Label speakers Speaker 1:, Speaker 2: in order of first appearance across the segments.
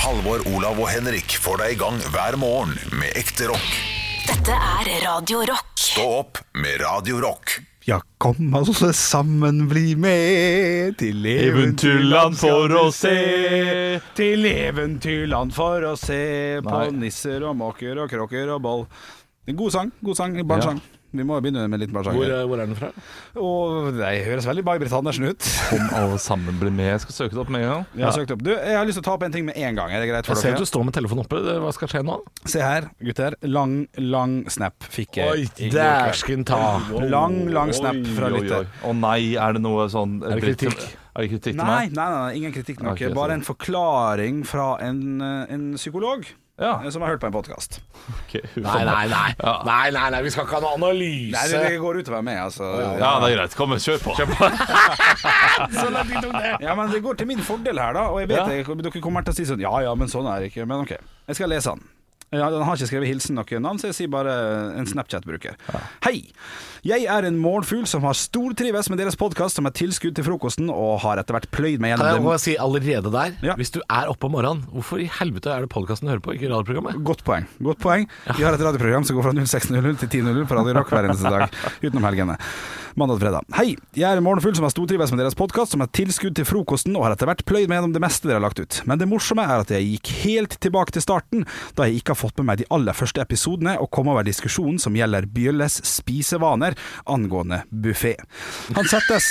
Speaker 1: Halvor, Olav og Henrik får deg i gang hver morgen med ekte rock.
Speaker 2: Dette er Radio Rock.
Speaker 1: Stå opp med Radio Rock.
Speaker 3: Ja, kom altså sammen, bli med til
Speaker 4: Eventyrland for å se.
Speaker 3: Til eventyrland for å se på
Speaker 4: Nei.
Speaker 3: nisser og måker og kråker og boll. En god sang, god sang, barnsang. Vi må begynne med en liten barnsang.
Speaker 5: Hvor,
Speaker 3: her.
Speaker 5: eh, hvor er den fra?
Speaker 3: Og det høres veldig May-Britt Andersen ut.
Speaker 4: Om alle sammen blir med. Jeg skal søke det opp med en gang.
Speaker 3: Jeg har søkt opp. Du, jeg har lyst til å ta opp en ting med en gang. Er det greit for
Speaker 5: Jeg ser at
Speaker 3: dere?
Speaker 5: du står med telefonen oppe. Det- Hva skal skje nå?
Speaker 3: Se her, gutter. Lang, lang snap fikk jeg. i går kveld.
Speaker 5: dæsken ta!
Speaker 3: Lang, lang snap fra
Speaker 4: Oi, oi,
Speaker 3: lytter.
Speaker 4: oi. Å nei, er det noe sånn
Speaker 5: Er det kritikk?
Speaker 4: Er det kritikk til
Speaker 3: Nei, nei,
Speaker 4: meg?
Speaker 3: nei, nei, ingen kritikk nok.
Speaker 4: Ok,
Speaker 3: Bare
Speaker 4: sorry.
Speaker 3: en forklaring fra en, eh, en psykolog
Speaker 4: Ja.
Speaker 3: eh, som har hørt på en podkast.
Speaker 4: ok, huff a
Speaker 5: Nei,
Speaker 4: meg.
Speaker 5: nei, nei. nei, nei, nei. Vi skal ikke ha noe analyse.
Speaker 3: Nei, det, det går utover meg, altså.
Speaker 4: Ja, det er greit. Kom, kjør på.
Speaker 5: Sånn at de tok det.
Speaker 3: Ja, men det går til min fordel her, da. Og jeg vet
Speaker 4: Ja.
Speaker 3: jeg- dere kommer til å si sånn Ja ja, men sånn er det ikke. Men OK. Jeg skal lese han. Ja, han har ikke skrevet hilsen noe navn, så jeg sier bare eh, en Snapchat-bruker. Hei! Jeg er en morgenfugl som har stortrives med deres podkast som et tilskudd til frokosten, og har etter hvert pløyd meg
Speaker 5: Kan jeg
Speaker 3: gjennom
Speaker 5: bare
Speaker 3: det
Speaker 5: si allerede der
Speaker 3: Ja.
Speaker 5: Hvis du er oppe om morgenen, hvorfor i helvete er det podkasten du hører på, ikke radioprogrammet?
Speaker 3: Godt poeng. godt poeng Vi har et radioprogram som går fra 06.00 til 10.00 på Radio Rock hver eneste dag, utenom helgene. Mandag til fredag. Hei, jeg er Morgenfugl som har stortrives med deres podkast, som er tilskudd til frokosten, og har etter hvert pløyd meg gjennom det meste dere har lagt ut. Men det morsomme er at jeg gikk helt tilbake til starten, da jeg ikke har fått med meg de aller første episodene, og kom over diskusjonen som gjelder Bjølles spisevaner angående buffé. Han settes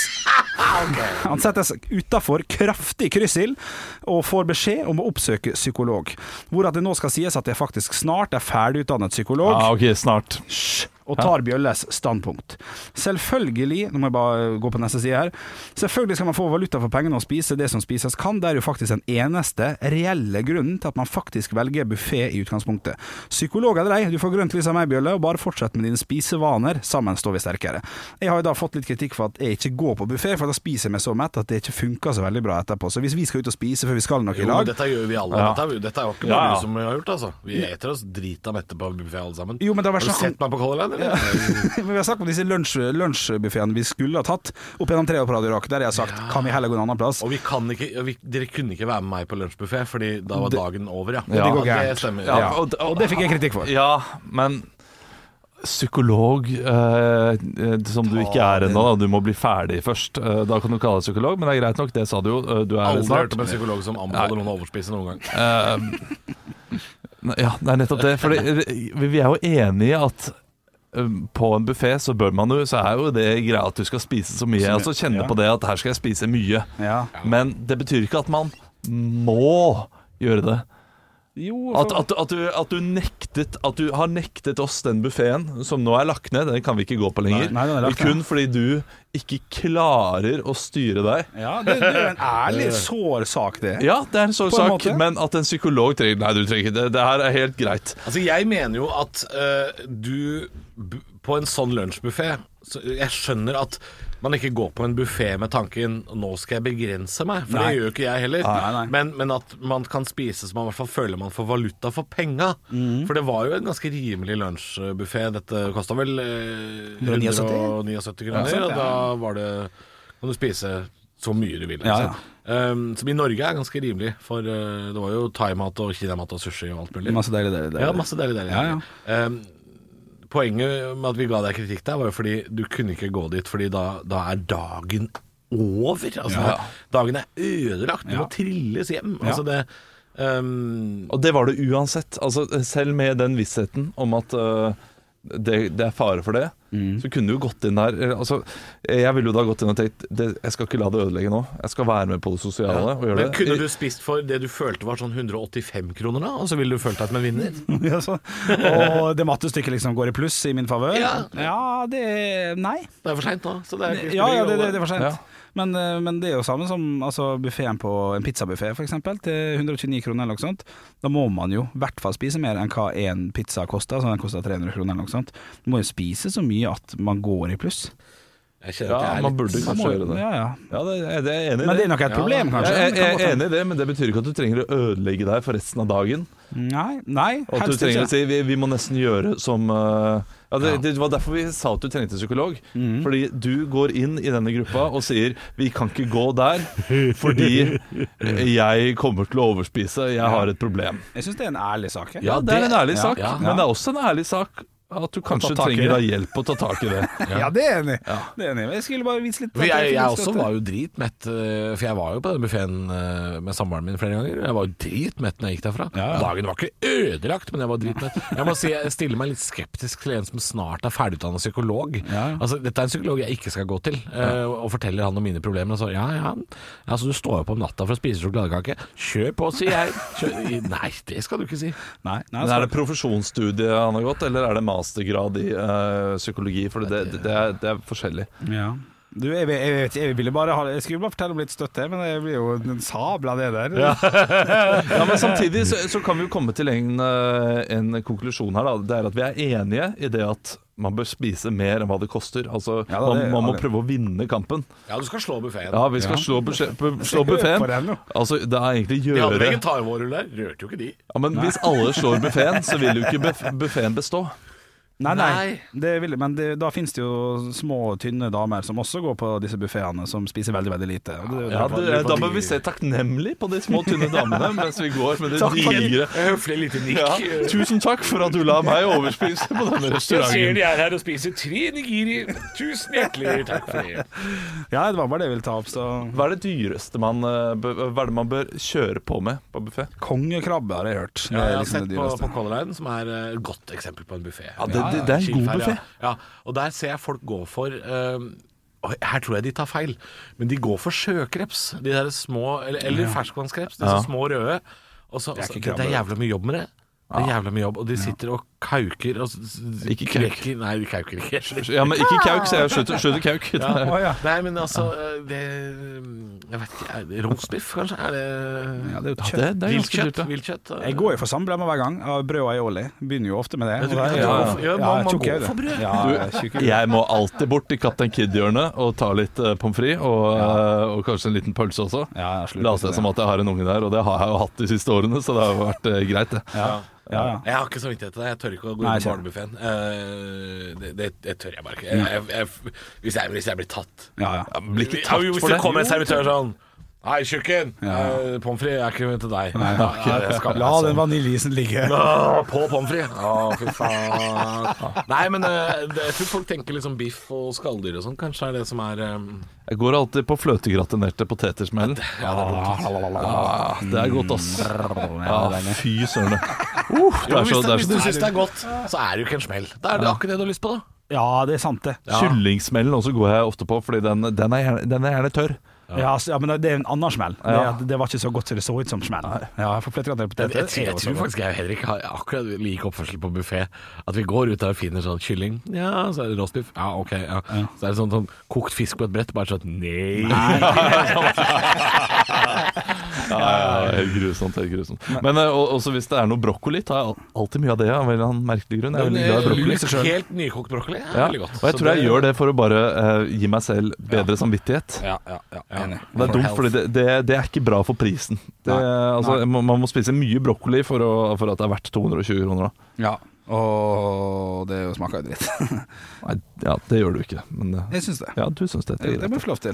Speaker 3: han settes utafor kraftig kryssild og får beskjed om å oppsøke psykolog. Hvorav det nå skal sies at jeg faktisk snart er ferdigutdannet psykolog
Speaker 4: Ja, ok, snart.
Speaker 3: og tar Bjølles standpunkt. Selvfølgelig Nå må jeg bare gå på neste side her. Selvfølgelig skal man få valuta for pengene og spise det som spises kan. Det er jo faktisk den eneste reelle grunnen til at man faktisk velger buffé i utgangspunktet. Psykolog eller ei, du får grønt lys av meg, Bjølle, og bare fortsett med dine spisevaner. Sammen står vi sterkere. Jeg har jo da fått litt kritikk for at jeg ikke går på buffé, for da spiser jeg meg så mett at det ikke funker så veldig bra etterpå. Så hvis vi skal ut og spise før vi skal noe i
Speaker 5: men
Speaker 3: lag
Speaker 5: dette gjør vi alle. Dette, er, jo- dette er jo ikke
Speaker 4: Ja,
Speaker 5: bare
Speaker 4: ja.
Speaker 5: du som har gjort, altså. Vi eter oss drita mette på buffé alle sammen.
Speaker 3: Jo, men det sånn- har
Speaker 5: har
Speaker 3: vært
Speaker 5: du
Speaker 3: snakk om-
Speaker 5: sett meg på Color Line, eller?
Speaker 3: Men vi har snakket om disse lunsj- lunsjbuffeene vi skulle ha tatt opp gjennom tre år på Radio Rock. Der jeg har sagt kan vi heller gå en annen plass?
Speaker 5: Og vi kan ikke, og vi, dere kunne ikke være med meg på lunsjbuffé, fordi da var dagen over, ja.
Speaker 3: det går gærent.
Speaker 5: det stemmer.
Speaker 3: Ja,
Speaker 5: Ja.
Speaker 3: og, og det fikk jeg kritikk for.
Speaker 4: Ja, men Psykolog eh, eh, som du ikke er ennå, da. du må bli ferdig først. Eh, da kan du kalle deg psykolog, men det er greit nok, det sa du jo. Eh, du er
Speaker 5: Aldri hørt
Speaker 4: snart.
Speaker 5: om en psykolog som anbefaler noen å overspise noen gang.
Speaker 4: Ne- Ja, det er nettopp det. Fordi eh, vi vi er jo enige i at eh, på en buffé så bør man jo Så er jo det greia at du skal spise så mye. Altså kjenne
Speaker 3: ja.
Speaker 4: på det at her skal jeg spise mye.
Speaker 3: Ja.
Speaker 4: Men det betyr ikke at man må gjøre det.
Speaker 3: Jo,
Speaker 4: At, at, at, du, at du nektet At du har nektet oss den buffeen som nå er lagt ned. Den kan vi ikke gå på lenger.
Speaker 3: Nei, nei, den er lagt ned.
Speaker 4: kun fordi du ikke klarer å styre deg.
Speaker 3: Ja, det, det er en ærlig, sår sak, det.
Speaker 4: Ja, det er en sånn
Speaker 3: På en
Speaker 4: sak,
Speaker 3: måte.
Speaker 4: men at en psykolog trenger Nei, du trenger ikke det. Det her er helt greit.
Speaker 5: Altså, jeg mener jo at eh, du bu- på en sånn lunsjbuffé så Jeg skjønner at man ikke går på en buffé med tanken 'nå skal jeg begrense meg', for
Speaker 3: Nei.
Speaker 5: det gjør jo ikke jeg heller.
Speaker 3: Nei, nei.
Speaker 5: Men, men at man kan spise så man i hvert fall føler man får valuta for penga.
Speaker 3: Mhm.
Speaker 5: For det var jo en ganske rimelig lunsjbuffé. Dette kosta vel eh,
Speaker 3: 179?
Speaker 5: 179 kroner,
Speaker 3: sant,
Speaker 5: og
Speaker 3: ja.
Speaker 5: da var det Kan du spise så mye du vil. Liksom.
Speaker 3: Ja, ja.
Speaker 5: Um, som i Norge er ganske rimelig, for eh, det var jo thaimat og kinamat og sushi og alt mulig.
Speaker 3: Masse deilig, deilig, deilig.
Speaker 5: Ja, masse deilig, deilig.
Speaker 3: Ja,
Speaker 5: Ehm, poenget med at vi ga deg kritikk der, var jo fordi du kunne ikke gå dit, fordi da, da er dagen over. Altså, Dagen er ødelagt. Du
Speaker 3: Ja.
Speaker 5: må trilles hjem. Altså, det ehm,
Speaker 4: Og det var det uansett. Altså, selv med den vissheten om at øh, det, det er fare for det,
Speaker 5: Mm.
Speaker 4: så kunne du jo gått inn der eller, altså, Jeg ville jo da gått inn og tenkt det, Jeg skal ikke la det ødelegge nå. Jeg skal være med på det sosiale og gjøre det.
Speaker 5: men kunne du spist for det du følte var sånn 185 kroner, da? Og så ville du følt deg som en vinner?
Speaker 3: Ja, så. Og det mattestykket liksom går i pluss i min favør?
Speaker 5: Ja.
Speaker 3: Ja, det Nei.
Speaker 5: Det er for seint nå. Så det er ikke
Speaker 3: Ja, ja det, det, det er for
Speaker 4: Ja.
Speaker 3: sent. Men, eh, men det er jo samme som altså, buffeen på en pizzabuffé, f.eks., til 129 kroner eller noe sånt. Da må man jo i hvert fall spise mer enn hva en pizza koster, så den koster 300 kroner eller noe sånt. Du må jo spise så mye at man går i pluss.
Speaker 5: Jeg kjenner
Speaker 4: Ja,
Speaker 5: at jeg er
Speaker 4: man
Speaker 5: litt-
Speaker 4: burde kanskje gjøre det.
Speaker 3: Ja, ja.
Speaker 4: Ja, det, jeg- det er jeg enig i.
Speaker 3: Men det er nok et
Speaker 5: Ja,
Speaker 3: problem,
Speaker 5: da.
Speaker 3: kanskje.
Speaker 4: Jeg, jeg,
Speaker 3: Kan godt
Speaker 4: jeg er
Speaker 3: hende.
Speaker 4: enig i det, men det betyr ikke at du trenger å ødelegge deg for resten av dagen.
Speaker 3: Nei, nei
Speaker 4: Og at du
Speaker 3: helst
Speaker 4: trenger
Speaker 3: ikke.
Speaker 4: å si vi, vi må nesten gjøre som eh, ja, det,
Speaker 3: Ja.
Speaker 4: det var derfor vi sa at du trengte psykolog.
Speaker 5: Mhm.
Speaker 4: Fordi du går inn i denne gruppa og sier 'vi kan ikke gå der fordi jeg kommer til å overspise, jeg har et problem'.
Speaker 3: Jeg syns det er en ærlig sak. jeg.
Speaker 5: Ja,
Speaker 4: Ja, det er
Speaker 5: det-
Speaker 4: en ærlig
Speaker 5: ja,
Speaker 4: sak,
Speaker 5: ja.
Speaker 4: men det er også en ærlig sak at du kanskje
Speaker 5: tak i
Speaker 4: trenger da
Speaker 5: det.
Speaker 4: hjelp å ta tak i det.
Speaker 3: Ja, det er jeg enig. i. Det er jeg enig. i. Jeg skulle bare vise litt
Speaker 5: For jeg, jeg også var jo dritmett, eh, for jeg var jo på den buffeen med samboeren min flere ganger. Jeg var jo dritmett når jeg gikk derfra.
Speaker 3: Ja, ja.
Speaker 5: Dagen var ikke ødelagt, men jeg var dritmett. Jeg må si jeg stiller meg litt skeptisk til en som snart er ferdigutdanna psykolog.
Speaker 3: Ja.
Speaker 5: Altså, dette er en psykolog jeg ikke skal gå til, eh, og forteller han om mine problemer. Og så ja, ja, altså du står opp om natta for å spise sjokoladekake. Kjør på, sier jeg. Kjør. Nei, det skal du ikke si.
Speaker 3: Nei, altså- nei,
Speaker 4: Men er det profesjonsstudie han har gått, eller er det mastergrad i eh, psykologi? For det, det, det, er, det er forskjellig.
Speaker 3: ja. du, jeg, jeg, jeg, vet- jeg, ville bare ha, jeg skulle bare fortelle om litt støtte, men jeg blir jo en sabla det der.
Speaker 4: Ja, Men samtidig så, så kan vi jo komme til en, eh, en konklusjon her. Da. Det er at vi er enige i det at man bør spise mer enn hva det koster. Altså,
Speaker 3: Ja, da,
Speaker 4: man,
Speaker 3: det-
Speaker 4: man må
Speaker 3: ja, det-
Speaker 4: prøve å vinne kampen.
Speaker 5: Ja, du skal slå buffeen.
Speaker 4: Ja, vi skal
Speaker 3: Ja.
Speaker 4: slå, budsje- bu- slå buffeen.
Speaker 3: For det er noe.
Speaker 4: Altså, det er egentlig
Speaker 5: De hadde
Speaker 4: gjøre ja,
Speaker 5: vegetarvårrull der, rørte jo ikke de.
Speaker 4: Men hvis alle slår buffeen, så vil jo ikke buffeen bestå.
Speaker 3: Nei, nei,
Speaker 5: Nei.
Speaker 3: Det vil, men det, da finnes det jo små, tynne damer som også går på disse buffeene, som spiser veldig, veldig lite. Og det,
Speaker 4: Ja, det, da bør vi se takknemlig på de små, tynne damene mens vi går med det
Speaker 3: Takk for-
Speaker 4: digre
Speaker 5: Høflig lite nikk.
Speaker 4: ja, Tusen takk for at du la meg overspise på denne restauranten.
Speaker 5: de er her og spiser tre nigiri. Tusen hjertelig takk for det.
Speaker 3: ja, det var bare det jeg ville ta opp, så
Speaker 4: Hva er det dyreste man, eh, bør- hva er det man bør kjøre på med på buffé?
Speaker 3: Kongekrabbe har jeg hørt. Det
Speaker 5: Ja,
Speaker 3: er
Speaker 4: Eh,
Speaker 5: jeg har
Speaker 3: liksom
Speaker 5: sett
Speaker 3: det
Speaker 5: på,
Speaker 3: dyreste.
Speaker 5: på Color Line, som er eh, et godt eksempel på en buffé.
Speaker 4: Ja, det, det, det er en god buffé.
Speaker 5: Ja. ja, og der ser jeg folk gå for eh, og her tror jeg de tar feil, men de går for sjøkreps. De der små, Eller, eller ferskvannskreps, disse små røde. Og så,
Speaker 3: er
Speaker 5: det,
Speaker 3: ikke
Speaker 5: er det er jævla mye jobb med det. Det er jævla mye jobb, Og de sitter og kauker og s- s-
Speaker 4: Ikke kauk.
Speaker 5: knekker- Nei, de kauker ikke.
Speaker 4: Ja, men ikke kauk, så jeg skjøter, skjøter kauk.
Speaker 3: Å, ja.
Speaker 5: Nei, men altså eh, det, Jeg vet ikke er det Roastbiff, kanskje? Er det
Speaker 3: Ja, det er jo
Speaker 4: Ja,
Speaker 3: kjøtt.
Speaker 4: det, det er ganske dyrt,
Speaker 5: Viltkjøtt?
Speaker 4: da.
Speaker 5: Viltkjøtt? eh.
Speaker 3: Jeg går jo for samblemmer hver gang. av Brød og aioli. Begynner jo ofte med det.
Speaker 5: Jeg tror-
Speaker 3: Og da-
Speaker 5: jeg tror-
Speaker 3: ja,
Speaker 5: ja, man- man
Speaker 3: tjukke
Speaker 5: går
Speaker 3: øyne.
Speaker 5: for brød.
Speaker 3: Ja, tjukke øyne.
Speaker 4: Jeg må alltid bort til Kaptein Kid-hjørnet og ta litt eh, pommes frites og, eh, og kanskje en liten pølse også.
Speaker 3: Ja, jeg slutter
Speaker 4: La oss
Speaker 3: på
Speaker 4: se
Speaker 3: det.
Speaker 4: som at jeg har en unge der, og det har jeg jo hatt de siste årene, så det har jo vært eh, greit, det.
Speaker 3: Ja, ja, ja.
Speaker 5: Jeg har ikke samvittighet til det. Jeg tør ikke å gå
Speaker 3: Nei,
Speaker 5: inn på
Speaker 3: skjønner.
Speaker 5: barnebuffeen. Eh, det, det, det tør jeg bare ikke. Jeg, jeg, jeg, hvis, jeg, hvis jeg blir tatt.
Speaker 3: ja, ja.
Speaker 4: Blir ikke
Speaker 5: Ja,
Speaker 4: tatt
Speaker 5: jo, hvis
Speaker 4: for
Speaker 5: det
Speaker 4: det.
Speaker 5: kommer en servitør sånn Hei, tjukken!
Speaker 3: Ja.
Speaker 5: eh, Pommes frites er ikke til deg.
Speaker 3: Nei, ok.
Speaker 5: Ja, jeg skal-
Speaker 3: La den vaniljeisen ligge.
Speaker 5: Åh, På pommes frites! Å, fy faen. Nei, men eh, det- jeg tror folk tenker liksom biff og skalldyr og sånn. Kanskje er det som er eh,
Speaker 4: Jeg går alltid på fløtegratinerte poteter som jeg
Speaker 5: Ja, det er dumt.
Speaker 4: Ah, det er godt, ass.
Speaker 3: Ja,
Speaker 4: Ja,
Speaker 3: det er deilig.
Speaker 4: fy søren. Uh, det
Speaker 5: Jo,
Speaker 4: er så, det
Speaker 5: hvis, det,
Speaker 4: er
Speaker 5: hvis
Speaker 4: så
Speaker 5: du syns det er godt, så er det jo ikke en smell. Da er det akkurat det du har lyst på, da.
Speaker 3: ja, det er sant, det.
Speaker 4: Kyllingsmellen også går jeg ofte på, Fordi den, den, er, gjerne, den er gjerne tørr.
Speaker 3: Ja, s- ja, men det er en annen smell. Det,
Speaker 4: Ja.
Speaker 3: er at det var ikke så godt som det så ut som smell. Ja, jeg får fløtegraterte
Speaker 5: Jeg,
Speaker 3: poteter.
Speaker 5: jeg, jeg,
Speaker 3: er jo så
Speaker 5: tror
Speaker 3: godt.
Speaker 5: faktisk jeg og Henrik har akkurat lik oppførsel på buffé. At vi går ut der og finner sånn kylling. Ja, så er det roastbiff. Ja, ok. Ja. Så er det sånn, sånn kokt fisk på et brett. Bare sånn nei.
Speaker 4: Ja, ja, ja, helt grusomt. helt grusomt Men eh, og- også hvis det er noe brokkoli, tar jeg al- alltid mye av det. Av en eller annen merkelig grunn. Jeg er veldig
Speaker 5: eh,
Speaker 4: glad i brokkoli.
Speaker 5: Helt nykokt brokkoli er
Speaker 4: Ja,
Speaker 5: veldig
Speaker 4: og
Speaker 5: godt.
Speaker 4: jeg tror jeg gjør det for å bare eh, gi meg selv bedre samvittighet.
Speaker 5: Ja, ja, ja,
Speaker 3: Eh,
Speaker 5: ja.
Speaker 4: Det er dumt,
Speaker 5: health.
Speaker 4: for det, det, det er ikke bra for prisen. Det, altså, Man man må spise mye brokkoli for, å, for at det er verdt 220 kroner. Da.
Speaker 3: Ja. Og det smaker jo dritt.
Speaker 4: Nei, ja, det gjør du ikke. Men eh,
Speaker 3: Jeg syns det.
Speaker 4: ja, du syns dette
Speaker 3: Det
Speaker 4: er
Speaker 3: det må jeg
Speaker 4: greit.
Speaker 3: få lov til.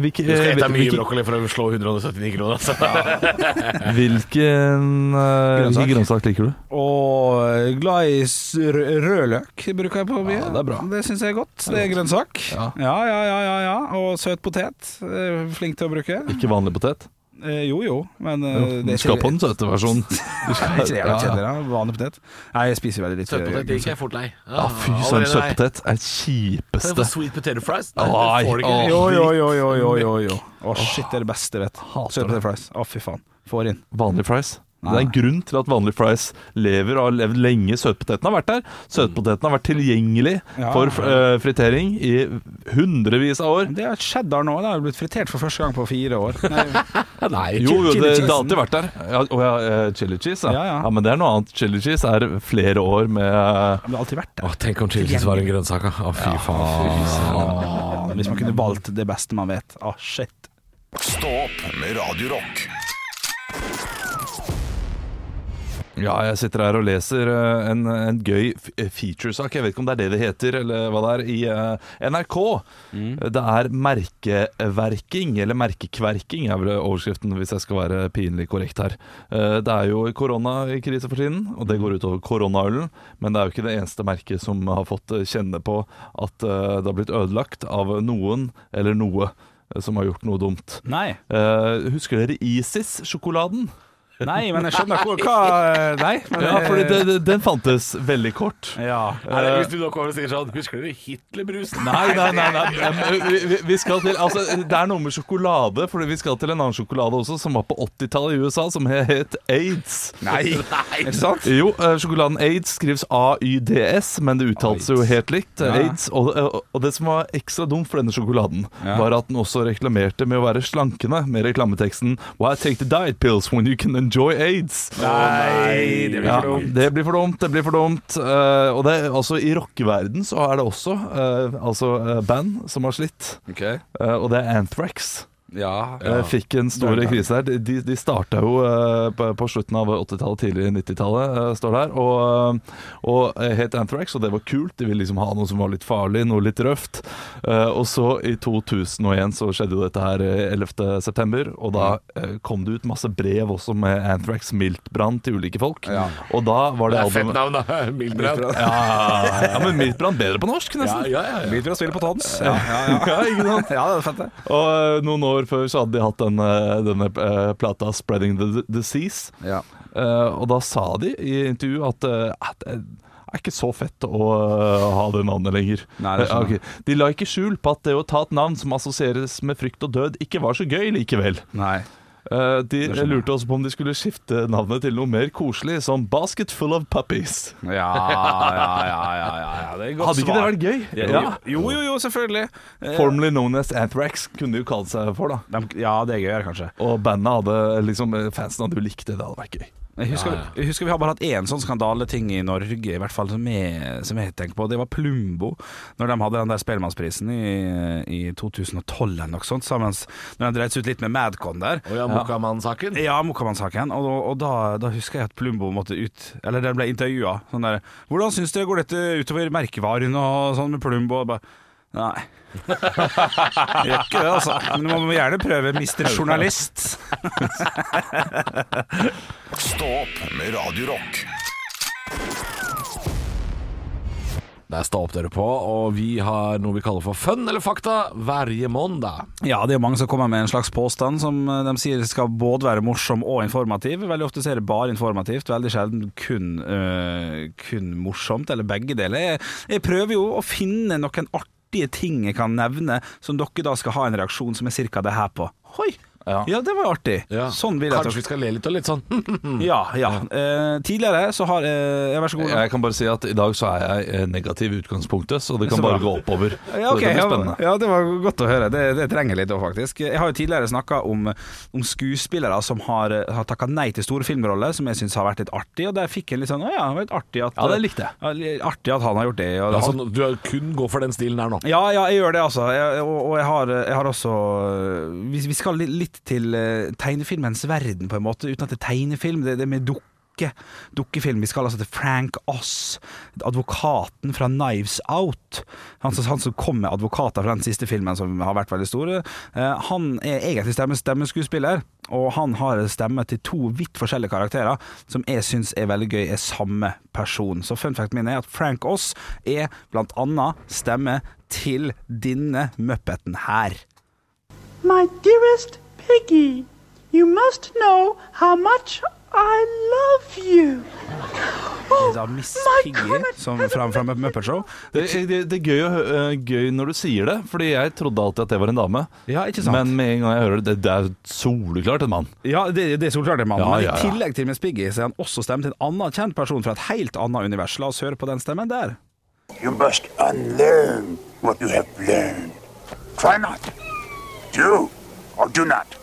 Speaker 4: Hvilke, eh,
Speaker 5: Du skal ete mye
Speaker 4: hvilke,
Speaker 5: brokkoli for å slå 179 kroner. Altså.
Speaker 4: hvilken eh,
Speaker 3: Grønnsak.
Speaker 4: hvilken grønnsak liker du?
Speaker 3: Og eh, glad i s- rø- rødløk bruker jeg på mye.
Speaker 4: Ja, det er bra.
Speaker 3: Det syns jeg er godt. Det er grønnsak.
Speaker 4: Ja.
Speaker 3: Ja, ja, ja, ja, ja. Og søt potet. eh, Flink til å bruke.
Speaker 4: Ikke vanlig potet?
Speaker 3: Eh, Jo jo, men eh,
Speaker 4: Du
Speaker 3: det
Speaker 4: skal på
Speaker 3: den?
Speaker 4: den søte versjonen. Du skal-
Speaker 3: Ikke det jævla
Speaker 4: ja, ja.
Speaker 3: kjedelig, da. Vanlig potet. Nei, jeg spiser veldig litt
Speaker 5: Søtpotet det
Speaker 3: grønnsak.
Speaker 5: gikk jeg fort lei.
Speaker 4: Ja, fy søren, søtpotet er det kjipeste.
Speaker 5: Sweet potato fries?
Speaker 4: Nei, det får du ikke.
Speaker 3: Jo, jo, jo, jo, jo, jo, jo. Å, shit, det er det beste jeg vet. Søt potet fries. Å, fy faen. Får inn.
Speaker 4: Vanlig fries. Det er en grunn til at vanlig fries lever og har levd lenge. Søtpoteten har vært der. Søtpoteten har vært tilgjengelig
Speaker 3: Ja.
Speaker 4: for eh, fritering i hundrevis av år.
Speaker 3: Det er cheddar nå. Det har blitt fritert for første gang på fire år. Nei,
Speaker 5: Nei,
Speaker 4: Jo, jo,
Speaker 3: chili
Speaker 4: det, det
Speaker 3: cheesen.
Speaker 4: har alltid vært der. Ja, og ja, eh, chili cheese, ja.
Speaker 3: Ja, ja.
Speaker 4: Men det er noe annet. Chili cheese er flere år med eh,
Speaker 3: det har alltid vært det.
Speaker 5: Å, tenk om chili cheese var en grønnsak, da. Å, fy faen.
Speaker 3: Faen, Hvis man kunne valgt det beste man vet. Å, shit.
Speaker 1: Stå opp med Radio Rock.
Speaker 4: Ja, jeg sitter her og leser eh, en, en gøy f- eh, featuresak. Jeg vet ikke om det er det det heter, eller hva det er, i eh, NRK. Eh, Det er merkeverking, eller merkekverking er vel overskriften, hvis jeg skal være pinlig korrekt her. Eh, Det er jo koronakrise for tiden, og det går utover koronaølen. Men det er jo ikke det eneste merket som har fått eh, kjenne på at eh, det har blitt ødelagt av noen eller noe eh, som har gjort noe dumt.
Speaker 3: Nei.
Speaker 4: Eh, Husker dere ISIS-sjokoladen?
Speaker 3: Nei, men jeg skjønner hvor hva eh, Nei. Men, eh,
Speaker 4: Ja, fordi det, det, den fantes veldig kort.
Speaker 3: Ja.
Speaker 5: Er det, hvis du nå kommer og sier sånn Husker dere Hitlerbrusen?
Speaker 4: Nei, nei, nei, nei. Em, Vi, vi- vi skal til, altså, Det er noe med sjokolade, Fordi vi skal til en annen sjokolade også, som var på 80-tallet i USA, som he- het AIDS.
Speaker 3: Nei. Er det sant?
Speaker 4: Jo, eh, sjokoladen AIDS skrives AYDS, men det uttales jo helt likt. eh,
Speaker 3: Ja.
Speaker 4: AIDS. Og, og- og det som var ekstra dumt for denne sjokoladen,
Speaker 3: Ja.
Speaker 4: var at den også reklamerte med å være slankende, med reklameteksten Why take the diet pills when you can enjoy AIDS?
Speaker 3: Nei, det blir
Speaker 4: Ja,
Speaker 3: for dumt.
Speaker 4: det blir for dumt, det blir for dumt. Eh, og det, altså, I rockeverden så er det også eh, altså, eh, band som har slitt, Eh, og det er Anthrax.
Speaker 3: Ja.
Speaker 4: Eh, fikk en stor
Speaker 3: Det er klart.
Speaker 4: krise der. De, de starta jo eh, på, på slutten av 80-tallet, tidlig 90-tallet, eh, står det her, og, og eh, het Anthrax, og det var kult. De ville liksom ha noe som var litt farlig, noe litt røft. Eh, og så, i 2001, så skjedde jo dette her eh, 11. september, og da
Speaker 5: Mm.
Speaker 4: eh, kom det ut masse brev også med Anthrax miltbrann til ulike folk,
Speaker 3: Ja.
Speaker 4: og da var
Speaker 5: Det
Speaker 4: det
Speaker 5: er fett
Speaker 4: albumet
Speaker 5: navn, da. Mildbrand.
Speaker 4: ja, ja, men miltbrann bedre på norsk,
Speaker 5: Ja,
Speaker 4: nesten.
Speaker 5: ja, ja, ja.
Speaker 3: Begynte å spille på tons. Ja, ja, ja.
Speaker 4: ikke sant?
Speaker 3: ja det er fett, det.
Speaker 4: Og eh, noen år før så hadde de hatt den, eh, denne eh, plata 'Spreading the D- Disease'.
Speaker 3: Ja.
Speaker 4: Eh, og da sa de i intervju at eh, at det er ikke så fett å eh, ha det navnet lenger.
Speaker 3: Nei, det skjønner jeg.
Speaker 4: Eh, ok. De la ikke skjul på at det å ta et navn som assosieres med frykt og død, ikke var så gøy likevel.
Speaker 3: Nei.
Speaker 4: Eh, de
Speaker 3: skjønner jeg.
Speaker 4: lurte også på om de skulle skifte navnet til noe mer koselig, som 'Basket full of puppies'.
Speaker 3: Ja, ja, ja, ja, ja, ja. Det er godt
Speaker 4: Hadde ikke det
Speaker 3: svar.
Speaker 4: vært gøy?
Speaker 3: Ja. Jo, jo, jo, selvfølgelig. Eh,
Speaker 4: Formerly known as Anthrax kunne de jo kalt seg for, da.
Speaker 3: dem- ja, det er gøyere, kanskje.
Speaker 4: Og bandet hadde liksom fansen hadde jo likt det. Det hadde vært gøy.
Speaker 3: Jeg husker, jeg husker vi har bare hatt én sånn skandaleting i Norge, i hvert fall som jeg, som jeg tenker på. Det var Plumbo, når de hadde den der Spellemannsprisen i, i 2012 eller noe sånt. Sammen, når de dreit seg ut litt med Madcon der.
Speaker 5: Og ja, Mokamann-saken.
Speaker 3: Ja, Mokamann-saken. Og, da, og da, da husker jeg at Plumbo måtte ut Eller den ble intervjua. Sånn der 'Hvordan syns dere går dette utover merkevaren og sånn med Plumbo?' Og bare Nei. Gjør ikke det, altså. Men man må gjerne prøve, mister journalist.
Speaker 1: Stå opp med Radio Rock.
Speaker 5: Der står opp dere på, og vi har noe vi kaller for fun eller fakta hver mandag.
Speaker 3: Ja, det er jo mange som kommer med en slags påstand som eh, de sier skal både være morsom og informativ. Veldig ofte så er det bare informativt, veldig sjelden kun, eh, kun morsomt, eller begge deler. Jeg, jeg prøver jo å finne noen artige ting jeg kan nevne, som dere da skal ha en reaksjon som er ca. det her på. Hoi! Ja.
Speaker 4: Ja.
Speaker 3: det var artig. Sånn vil jeg at
Speaker 5: Kanskje vi
Speaker 3: dere-
Speaker 5: skal le litt og litt sånn.
Speaker 3: Ja, ja. Eh, tidligere så har eh, ja, Vær så god.
Speaker 4: Jeg kan bare si at i dag så er jeg eh, negativ i utgangspunktet, så det kan
Speaker 3: Så
Speaker 4: bare
Speaker 3: bra.
Speaker 4: gå oppover.
Speaker 3: Ja,
Speaker 4: så
Speaker 3: ok,
Speaker 4: det blir
Speaker 3: ja,
Speaker 4: spennende.
Speaker 3: ja, det var godt å høre. Det, det trenger jeg litt òg, faktisk. Jeg har jo tidligere snakka om, om skuespillere som har, har takka nei til store filmroller, som jeg syns har vært litt artig, og der fikk en litt sånn Å ja, det var litt artig at
Speaker 4: Ja, det likte jeg. sånn-
Speaker 3: Ja, litt Artig at han har gjort det. Og
Speaker 5: Altså,
Speaker 3: han,
Speaker 5: du er- kun går for den stilen her nå.
Speaker 3: ja, ja, jeg gjør det, altså. Jeg, og og jeg, har, jeg har også Vi, vi skal li- litt til eh, tegnefilmens verden, på en måte, uten at det er tegnefilm. Det, det er med dukke. Dukkefilm. Vi skal altså til Frank Oss, advokaten fra Knives Out. Han, som- han som kom med advokater fra den siste filmen, som har vært veldig stor. Eh, Han er egentlig stemme, stemmeskuespiller, og han har stemme til to vidt forskjellige karakterer, som jeg syns er veldig gøy, er samme person. Så fun fact min er at Frank Oss er blant annet stemme til denne muppeten her.
Speaker 6: My dearest Piggy, you must know how much I love you.
Speaker 3: Det er da Miss
Speaker 6: Oh My
Speaker 3: Piggy
Speaker 6: God, I-
Speaker 3: som fra, fra Muppet Show.
Speaker 4: Det, det, det er gøy, å hø- eh, gøy når du sier det, Fordi jeg trodde alltid at det var en dame.
Speaker 3: Ja, ikke sant?
Speaker 4: Men med en gang jeg hører det, det, det er soleklart en mann.
Speaker 3: Ja, det, det er solklart det, mann.
Speaker 4: Ja,
Speaker 3: Men I
Speaker 4: ja, ja.
Speaker 3: tillegg til Miss Piggy så er han også stemmen til en annen kjent person fra et helt annet univers. La oss høre på den stemmen der.
Speaker 7: You must unlearn what you have learned. Try not. Do or do not.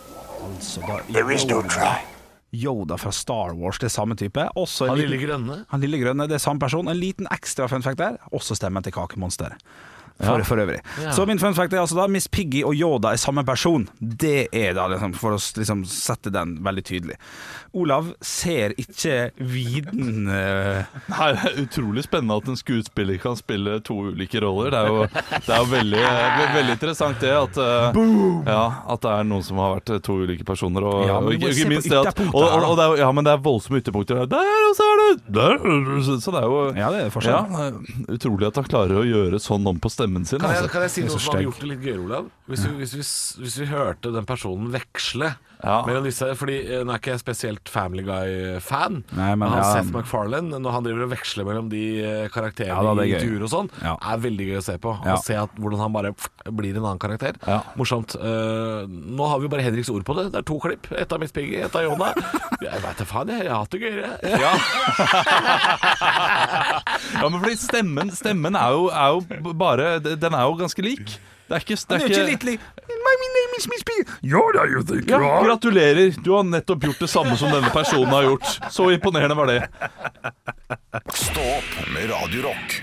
Speaker 3: Så da,
Speaker 7: There is no try.
Speaker 3: Yoda fra Star Wars, det er samme type. Også en
Speaker 5: Han
Speaker 3: liten-
Speaker 5: lille grønne.
Speaker 3: Han lille grønne, det er samme person. En liten ekstra fun fact der, også stemmen til Kakemonsteret. for,
Speaker 4: Ja.
Speaker 3: for øvrig.
Speaker 5: Ja.
Speaker 3: Så min fun fact er altså da Miss Piggy og Yoda er samme person. Det er da liksom for å s- liksom sette den veldig tydelig. Olav ser ikke viden eh,
Speaker 4: Nei, det er utrolig spennende at en skuespiller kan spille to ulike roller. Det er jo, det er jo veldig, ve- veldig interessant det at, eh, ja, at det er noen som har vært eh, to ulike personer. Og,
Speaker 3: Ja, men
Speaker 4: og
Speaker 3: du må
Speaker 4: ikke,
Speaker 3: se på
Speaker 4: ikke minst det at
Speaker 3: ytterpunktet
Speaker 4: og, og,
Speaker 3: her, da.
Speaker 4: og det er, jo- Ja, men det er voldsomme ytterpunkter. Der, og så er det der, Så så det er jo
Speaker 3: Ja, det er forskjell.
Speaker 4: Ja, eh, utrolig at han klarer å gjøre sånn om på stemmen sin.
Speaker 5: Kan jeg,
Speaker 4: altså.
Speaker 5: kan jeg si noe som
Speaker 3: stygg.
Speaker 5: hadde gjort det litt gøyere, Olav? Hvis vi, hvis, vi, s- hvis vi hørte den personen veksle
Speaker 4: Ja.
Speaker 5: mellom disse Fordi eh, nå er ikke jeg spesielt Family Guy-fan,
Speaker 3: Nei, men
Speaker 5: men han
Speaker 3: ja.
Speaker 5: Seth MacFarlane, når han driver og veksler mellom de eh, karakterene
Speaker 3: Ja, da,
Speaker 5: i
Speaker 3: det er gøy.
Speaker 5: intervjuer og sånn,
Speaker 3: Ja.
Speaker 5: er veldig gøy å se på.
Speaker 3: Ja.
Speaker 5: Å se at, hvordan han bare pff, blir en annen karakter.
Speaker 4: Ja.
Speaker 5: Morsomt. Eh, nå har vi jo bare Henriks ord på det. Det er to klipp. Ett av Miss Piggy, ett av Jonna. Jeg veit da faen, jeg. Jeg har hatt det gøyere.
Speaker 4: Ja. ja, men fordi stemmen, stemmen er, jo, er jo bare Den er jo ganske lik. Det er ikke, det er ikke
Speaker 3: lik. My name is Miss Piggy. Yoda, you think
Speaker 4: Ja, gratulerer. Du har nettopp gjort det samme som denne personen har gjort. Så imponerende var det.
Speaker 1: Stå opp med Radio Rock.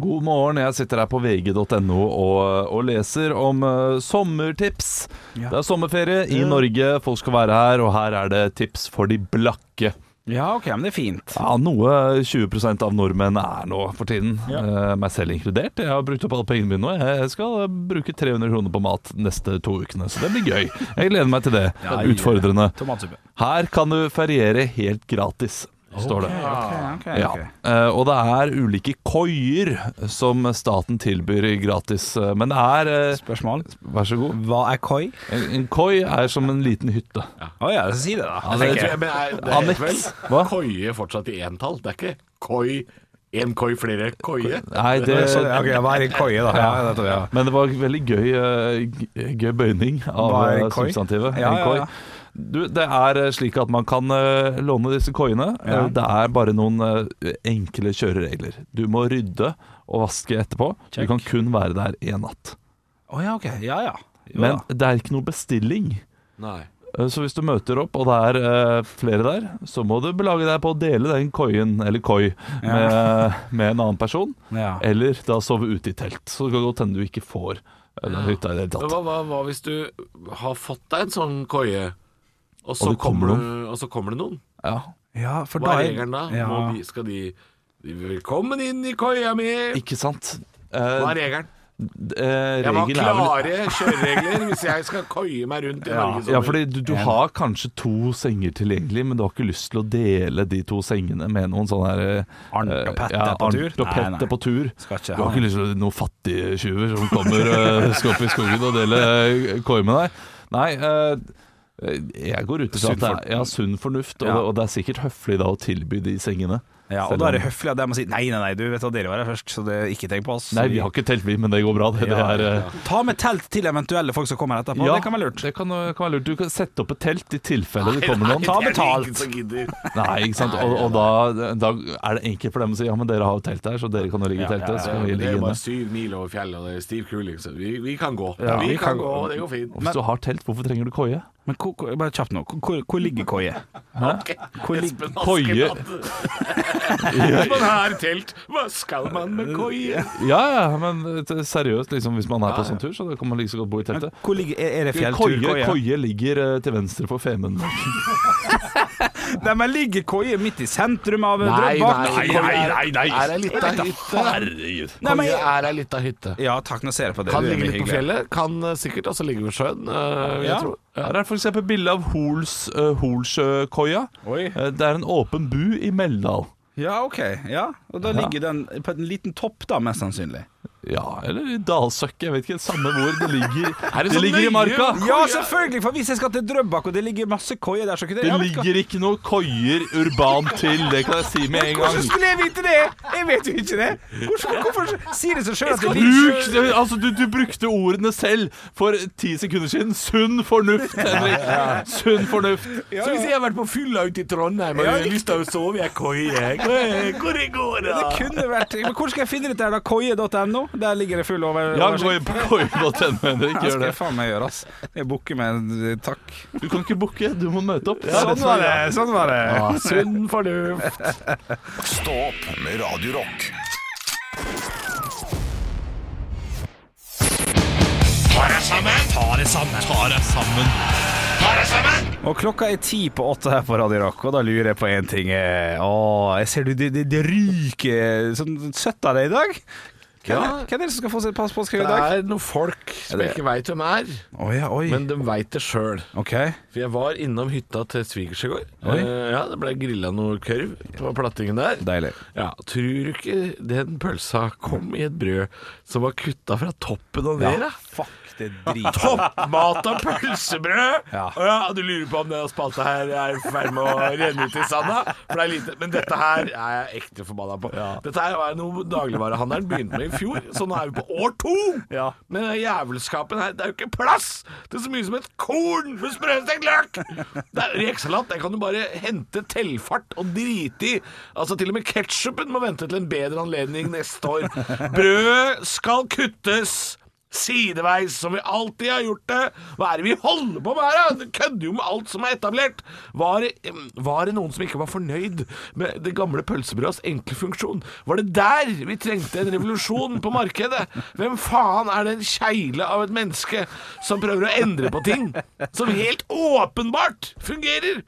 Speaker 4: God morgen, jeg sitter her på vg.no og, og leser om eh, sommertips. Det er sommerferie i Norge, folk skal være her, og her er det tips for de blakke.
Speaker 3: Ja, ok, men det er fint.
Speaker 4: Ja, noe 20 av nordmenn er nå for tiden, Eh, meg selv inkludert. Jeg har brukt opp alle pengene mine nå. Jeg- Jeg skal eh, bruke 300 kroner på mat neste to ukene, så det blir gøy. Jeg gleder meg til det.
Speaker 3: Ja,
Speaker 4: Utfordrende.
Speaker 3: Tomatsuppe.
Speaker 4: Her kan du feriere helt gratis, står det. Ah, Ja. Eh, og det er ulike koier som staten tilbyr gratis. eh, Men det er eh,
Speaker 3: Spørsmål?
Speaker 4: Vær så god.
Speaker 3: Hva er koi?
Speaker 4: En, en koi er som en liten hytte.
Speaker 3: Å ja, så si det, da.
Speaker 4: Ja,
Speaker 5: Altså, Jeg
Speaker 4: det- Altså,
Speaker 5: tror jeg- men er- Det
Speaker 4: Annex.
Speaker 5: heter vel
Speaker 4: Hva?
Speaker 5: koie fortsatt i entall. Det er ikke koi, én koi, flere koie.
Speaker 4: Nei, det
Speaker 3: Så, ok, hva er en koi, da? Ja, dette, ja.
Speaker 4: Men det var veldig gøy, eh, g- gøy bøyning av
Speaker 3: Hva er
Speaker 4: eh,
Speaker 3: koi?
Speaker 4: substantivet.
Speaker 3: Ja,
Speaker 4: En
Speaker 3: ja,
Speaker 4: koi.
Speaker 3: ja.
Speaker 4: Du, det er eh, slik at man kan eh, låne disse koiene.
Speaker 3: Ja.
Speaker 4: Eh, Det er bare noen eh, enkle kjøreregler. Du må rydde og vaske etterpå.
Speaker 3: Check.
Speaker 4: Du kan kun være der én natt.
Speaker 3: Å ja, ok. Ja, ja. Jo,
Speaker 4: Men
Speaker 3: da.
Speaker 4: det er ikke noe bestilling.
Speaker 5: sånn- Nei.
Speaker 4: Eh, Så hvis du møter opp, og det er eh, flere der, så må du belage deg på å dele den koien, eller koi, med, eh, med en annen person.
Speaker 3: Ja.
Speaker 4: Eller da sove ute i telt. Så det kan godt hende du ikke får eh, den hytta i det hele tatt.
Speaker 5: Men hva, hva, hva hvis du har fått deg en sånn koie, og
Speaker 4: Og
Speaker 5: så,
Speaker 4: det kommer
Speaker 5: kommer, du, og så kommer det noen?
Speaker 4: Ja.
Speaker 3: ja, for
Speaker 5: Hva
Speaker 3: da
Speaker 5: er regelen da?
Speaker 3: Ja.
Speaker 5: Må de, skal de, de Velkommen inn i koia mi!
Speaker 4: Ikke sant?
Speaker 5: Hva er
Speaker 4: Eh,
Speaker 5: regelen?
Speaker 4: d- eh,
Speaker 5: Jeg må ha
Speaker 4: regelen er vel
Speaker 5: klare kjøreregler hvis jeg skal koie meg rundt i
Speaker 4: ja,
Speaker 5: Norge.
Speaker 4: ja,
Speaker 5: sommer.
Speaker 4: fordi du, du har kanskje to senger tilgjengelig, men du har ikke lyst til å dele de to sengene med noen sånne her eh,
Speaker 3: Arnt og Pette
Speaker 4: ja,
Speaker 3: på
Speaker 4: Arnt
Speaker 3: tur?
Speaker 4: og
Speaker 3: Nei,
Speaker 4: Pette
Speaker 3: nei.
Speaker 4: på tur.
Speaker 3: Skal ikke
Speaker 4: du
Speaker 3: ha
Speaker 4: har ikke lyst til å- noen fattige tjuver som kommer eh, skal opp i skogen og deler eh, koi med deg. Nei, eh, jeg går ut ifra at det er ja, sunn fornuft, og,
Speaker 3: Ja.
Speaker 4: det, og det er sikkert høflig da å tilby de sengene.
Speaker 3: Ja, og
Speaker 4: Selv
Speaker 3: da er
Speaker 4: om-
Speaker 3: det høflig av dem å si nei, nei, nei, du vet hva, dere var her først, så det, ikke tenk på oss.
Speaker 4: Nei, vi har ikke telt, vi, men det går bra. Det, det
Speaker 3: Ja,
Speaker 4: er eh,
Speaker 3: Ta med telt til eventuelle folk som kommer etterpå,
Speaker 4: ja,
Speaker 3: det kan være lurt.
Speaker 4: Det kan, kan være lurt. Du kan sette opp et telt i tilfelle det kommer noen.
Speaker 5: Nei,
Speaker 4: Ta
Speaker 5: det er det
Speaker 4: betalt.
Speaker 5: ingen som gidder.
Speaker 4: Nei, ikke sant. Og, og da, da er det enkelt for dem å si ja, men dere har jo telt her, så dere kan jo ligge i teltet. Så kan vi
Speaker 5: Det
Speaker 4: ligge
Speaker 5: er
Speaker 4: inne.
Speaker 5: bare syv mil over fjellet, og det er stiv kuling, så vi, vi kan gå. vi, kan, gå, det går fint.
Speaker 4: Og hvis du har telt, hvorfor trenger du koie?
Speaker 3: Men hvor- hvor- bare kjapt nå, hvor, hvor ligger koie?
Speaker 5: Ok, Espen
Speaker 4: koie?
Speaker 5: Askeladd. Hvis man har telt, hva skal man med koie?
Speaker 4: Ja, ja, men t- seriøst, liksom, hvis man er på sånn tur, så da kan man like så godt bo i teltet.
Speaker 3: Hvor ligger, er, er det
Speaker 4: Koie,
Speaker 3: fjellturkoie?
Speaker 4: koie ligger eh, til venstre for Femund.
Speaker 3: Nei, men ligger koie midt i sentrum av Drøbak?
Speaker 5: Er ei lita hytte.
Speaker 4: Herregud.
Speaker 3: Nei, men-
Speaker 5: Koie er ei lita hytte.
Speaker 3: Ja takk, nå ser jeg på det.
Speaker 5: Kan
Speaker 3: du er
Speaker 5: ligge
Speaker 3: mye
Speaker 5: litt på
Speaker 3: hyggeligere.
Speaker 5: fjellet, kan eh, sikkert også ligge ved sjøen, eh, vil jeg
Speaker 3: Ja.
Speaker 5: tro.
Speaker 4: Her er f.eks. bilde av Hols, eh, Holsjøkoia.
Speaker 3: Oi.
Speaker 4: Eh, Det er en åpen bu i Meldal.
Speaker 3: Ja, ok. Ja. Og da ligger den på en liten topp, da, mest sannsynlig.
Speaker 4: Ja, eller i Dalsøkket, jeg vet ikke. Samme hvor det ligger. det
Speaker 5: det så
Speaker 4: ligger i
Speaker 5: nøye?
Speaker 4: marka.
Speaker 3: sånn Ja, selvfølgelig! For hvis jeg skal til Drøbak, og det ligger masse koier der, så kunne jeg
Speaker 4: Det
Speaker 3: vet ikke hva-
Speaker 4: ligger ikke noen koier urbant til, det kan jeg si med en
Speaker 3: Hvordan
Speaker 4: gang.
Speaker 3: skulle jeg vite det?! Jeg vet jo ikke det! Hvordan, hvorfor sier det seg sjøl at det ligger
Speaker 4: Bruk, det- altså du, du brukte ordene selv for ti sekunder siden. Sunn fornuft, Henrik. Sunn fornuft.
Speaker 5: Så hvis jeg har vært på fylla ute i Trondheim og jeg har lyst til å sove i ei koie, eh, hvor det går da?
Speaker 3: Det kunne vært Men hvor skal jeg finne dette her, da? Koie.no? Der ligger det full over
Speaker 4: Ja, gå
Speaker 3: oversikt.
Speaker 4: inn på koi.no, Henrik.
Speaker 3: Ja, det
Speaker 4: Gjør
Speaker 3: skal jeg
Speaker 4: det.
Speaker 3: faen meg gjøre, ass. Jeg booker med en eh, takk.
Speaker 4: Du kan ikke booke, du må møte opp.
Speaker 3: Sånn var det! Sånn var det.
Speaker 5: Sunn fornuft.
Speaker 1: Stå opp med Radio Rock.
Speaker 4: sammen! Ta deg sammen!
Speaker 3: Og klokka er ti på åtte her på Radio Rock, og da lurer jeg på én ting. eh, Å, jeg ser du, det, det, det ryker sånn søtt av deg i dag. Hvem, er- hvem er det som skal få sitt pass påskrevet i
Speaker 5: Det
Speaker 3: dag?
Speaker 5: er noen folk som jeg ikke veit hvem er,
Speaker 3: Å ja, oi.
Speaker 5: men de veit det sjøl.
Speaker 3: ok.
Speaker 5: For jeg var innom hytta til svigers i går.
Speaker 3: Oi.
Speaker 5: Eh, ja, det ble grilla noe kurv på plattingen der.
Speaker 3: Deilig.
Speaker 5: Ja, Tror du ikke den pølsa kom i et brød som var kutta fra toppen og ned? da?
Speaker 3: Fuck, det driter
Speaker 5: Toppmat og pølsebrød!
Speaker 3: Ja.
Speaker 5: Å ja, du lurer på om den spalta her er i ferd med å renne ut i sanda? For det er lite. Men dette her er jeg ekte forbanna på. Dette her var noe dagligvarehandelen begynte med i fjor, så nå er vi på år to!
Speaker 3: Ja.
Speaker 5: Men den jævelskapen her, det er jo ikke plass til så mye som et korn med sprøstekt løk! Det er Rekesalat der kan du bare hente tellfart og drite i. Altså Til og med ketsjupen må vente til en bedre anledning neste år. Brødet skal kuttes! sideveis, som vi alltid har gjort det. Hva er det vi holder på med her, da? Du kødder jo med alt som er etablert. Var det, var det noen som ikke var fornøyd med det gamle pølsebrødets enkle funksjon? Var det der vi trengte en revolusjon på markedet? Hvem faen er den kjegle av et menneske som prøver å endre på ting som helt åpenbart fungerer?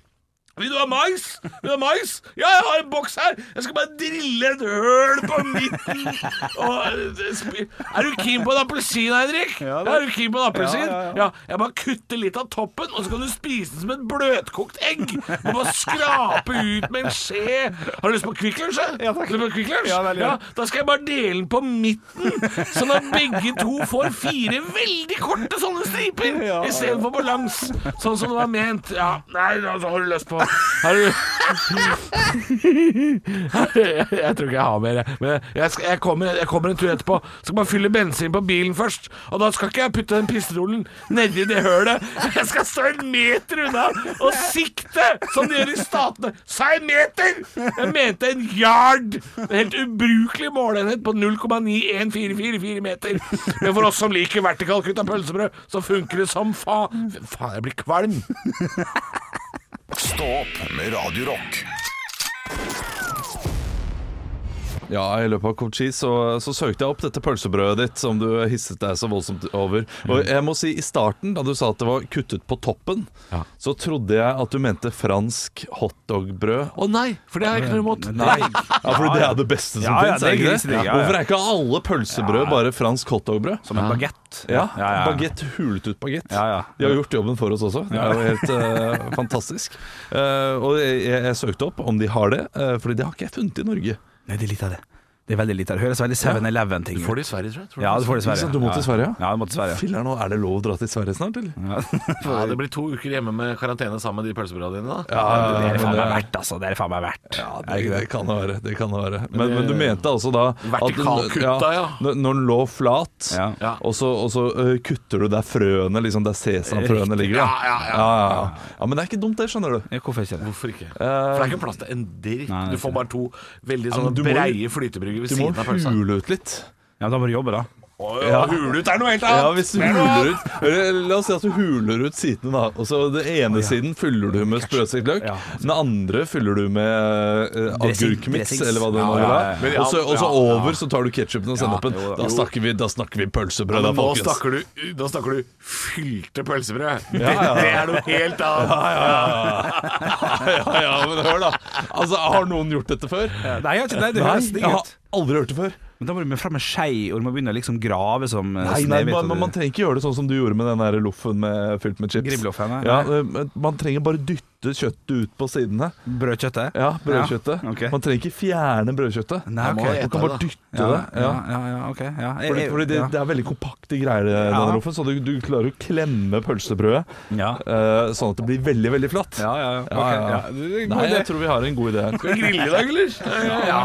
Speaker 5: Vil du ha mais? Vil du ha mais? Ja, jeg har en boks her. Jeg skal bare drille et høl på midten. Og, eh, er du keen på en appelsin, Henrik? Ja, er du keen på en appelsin? Ja, jeg bare kutter litt av toppen, og så kan du spise den som et bløtkokt egg. Du må bare skrape ut med en skje. Har du lyst på Kvikk Lunsj? da?
Speaker 3: Ja, takk.
Speaker 5: Vil du på Kvikk Lunsj?
Speaker 3: Ja, veldig gjerne.
Speaker 5: Da skal jeg bare dele den på midten, sånn at begge to får fire veldig korte sånne striper
Speaker 3: Ja.
Speaker 5: istedenfor på langs, sånn som det var ment. Ja, nei, altså, har du lyst på Har du jeg, jeg tror ikke jeg har mer, jeg. men jeg, skal, jeg, kommer, jeg kommer en tur etterpå. Skal bare fylle bensin på bilen først. Og da skal ikke jeg putte den pistolen nedi det hølet. Jeg skal stå en meter unna og sikte, som de gjør i statene. Sa jeg meter? Jeg mente en yard. En helt ubrukelig måleenhet på 0,91444 meter. Men for oss som liker vertikalkutt av pølsebrød, så funker det som faen. Faen, jeg blir kvalm.
Speaker 1: Stå opp med Radio Rock.
Speaker 4: Ja, i løpet av kort tid så, så søkte jeg opp dette pølsebrødet ditt som du hisset deg så voldsomt over. Og jeg må si, i starten, da du sa at det var kuttet på toppen, så trodde jeg at du mente fransk hotdogbrød.
Speaker 5: Å nei, for det har jeg ikke noe imot.
Speaker 4: Nei, ja, for det er det beste som
Speaker 3: Ja, ja,
Speaker 4: finnes,
Speaker 3: det er
Speaker 4: ikke det?
Speaker 3: grisedigg, ja, ja.
Speaker 4: Hvorfor er ikke alle pølsebrød bare fransk hotdogbrød?
Speaker 3: Som en bagett.
Speaker 4: Ja,
Speaker 3: ja, ja.
Speaker 4: Bagett, hulet ut bagett.
Speaker 3: Ja, ja.
Speaker 4: De har gjort jobben for oss også. Det er jo helt eh, fantastisk. Eh, og jeg, jeg, jeg søkte opp om de har det, uh, fordi det har ikke jeg funnet i Norge.
Speaker 3: Nei, det er litt av det. Det er veldig lite av det. Høres veldig 7-Eleven-ting ut.
Speaker 5: Du får det i Sverige, tror jeg. Tror
Speaker 3: Ja, du får det i
Speaker 4: Ikke
Speaker 3: Sverige.
Speaker 4: sant, du må til Sverige, ja?
Speaker 3: ja? Ja, du må til Sverige.
Speaker 4: Filler nå, er det lov å dra til Sverige snart, eller?
Speaker 5: Mm. Ja, det blir to uker hjemme med karantene sammen med de pølsebrødene dine, da.
Speaker 3: Det er
Speaker 4: men
Speaker 3: faen
Speaker 4: det-
Speaker 3: meg verdt, altså. Det er faen meg verdt.
Speaker 4: Ja, det, det kan det være. Det kan det være. Men, men du mente altså da
Speaker 5: eh, Vertikalkutta, ja.
Speaker 4: Når når den lå flat,
Speaker 3: Ja.
Speaker 5: Ja.
Speaker 4: og så, og så ø, kutter du der frøene, liksom der sesamfrøene ligger. da.
Speaker 5: Ja, ja, ja.
Speaker 4: ja. Ja, Men det er ikke dumt, det, skjønner du.
Speaker 3: Ja, Hvorfor ikke det?
Speaker 5: Hvorfor ikke?
Speaker 4: Eh,
Speaker 5: For det er ikke plass til en dritt.
Speaker 3: Nei, det er
Speaker 5: Du får bare to veldig sånne
Speaker 4: men du må jo-
Speaker 5: breie flytebrygger ved
Speaker 4: Du må
Speaker 5: siden av pølsa.
Speaker 4: hule ut litt.
Speaker 3: Ja, men da må du jobbe, da.
Speaker 5: Å, ja, Hule ut er noe helt
Speaker 4: Ja,
Speaker 5: annet!
Speaker 4: hvis du huler ut eller, La oss si at du huler ut sidene, da. Og så den ene siden fyller du med sprøstekt løk.
Speaker 3: Ja.
Speaker 4: Den andre fyller du med uh,
Speaker 3: Dressing-
Speaker 4: agurkmiks,
Speaker 3: dressings.
Speaker 4: eller hva det
Speaker 3: Ja,
Speaker 4: nå vil
Speaker 3: ja,
Speaker 4: være.
Speaker 3: ja,
Speaker 5: ja.
Speaker 4: Og så- Og så
Speaker 5: Ja, ja.
Speaker 4: over så tar du ketsjupen og sennepen.
Speaker 3: jo da.
Speaker 4: da, snakker vi- da snakker vi pølsebrød, da,
Speaker 5: Men nå
Speaker 4: folkens.
Speaker 5: snakker, du, da snakker du fylte pølsebrød.
Speaker 4: ja.
Speaker 5: Det er noe helt annet.
Speaker 4: ja, ja, men hør da Altså, Har noen gjort dette før?
Speaker 3: Nei, jeg har ikke det. Det høres digg
Speaker 4: jeg har
Speaker 3: ut.
Speaker 4: aldri hørt det før.
Speaker 3: Men da må du fram med skei, og du må begynne å liksom grave som eh,
Speaker 4: Nei, nei
Speaker 3: Snehvit,
Speaker 4: man,
Speaker 3: og
Speaker 4: man,
Speaker 3: du-
Speaker 4: man trenger ikke gjøre det sånn som du gjorde med den der loffen med, fylt med chips.
Speaker 3: Grillloffen, ja.
Speaker 4: ja. eh, men Man trenger bare dytte kjøttet ut på sidene.
Speaker 3: Brødkjøttet?
Speaker 4: Ja, brødkjøttet.
Speaker 3: Ja, ok.
Speaker 4: Man trenger ikke fjerne brødkjøttet.
Speaker 3: Nei, ok.
Speaker 4: Man kan bare dytte
Speaker 3: Ja,
Speaker 4: det.
Speaker 3: ja,
Speaker 4: Ja.
Speaker 3: ja, ja, ok. Ja. Jeg-
Speaker 4: Fordi,
Speaker 3: jeg-
Speaker 4: fordi det,
Speaker 3: ja.
Speaker 4: det er veldig kompakte greier, denne loffen, så du, du klarer å klemme pølsebrødet
Speaker 3: Ja.
Speaker 4: eh, sånn at det blir veldig, veldig flatt.
Speaker 3: Ja, ja, ja.
Speaker 4: Ja,
Speaker 3: Ok,
Speaker 4: ja, ja.
Speaker 3: ja. Det er en god
Speaker 4: Nei, jeg
Speaker 3: idé.
Speaker 4: tror vi har en god idé. her.
Speaker 5: Skal vi grille i dag, eller?
Speaker 3: Ja,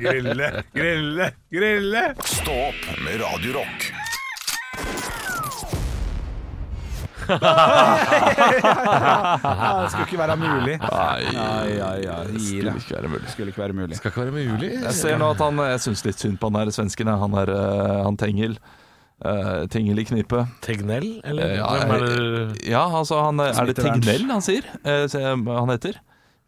Speaker 3: grille, grille, grille.
Speaker 1: Stå opp med Radio Rock.
Speaker 3: Ja, det skulle ikke være mulig.
Speaker 4: Nei, det
Speaker 3: Gi det.
Speaker 4: skulle ikke være mulig.
Speaker 3: Skulle ikke være mulig.
Speaker 5: Skal ikke være med juli.
Speaker 4: Jeg ser nå at han, jeg syns litt synd på han der svensken. ja. Han er eh, han Tengel. Eh, Tengel i knipe.
Speaker 5: Tegnell, eller?
Speaker 4: Eh, ja,
Speaker 5: Hvem er det?
Speaker 4: Ja, altså han, Eh, Er det
Speaker 3: Smittevern.
Speaker 4: Tegnell han sier? eh, se- han heter?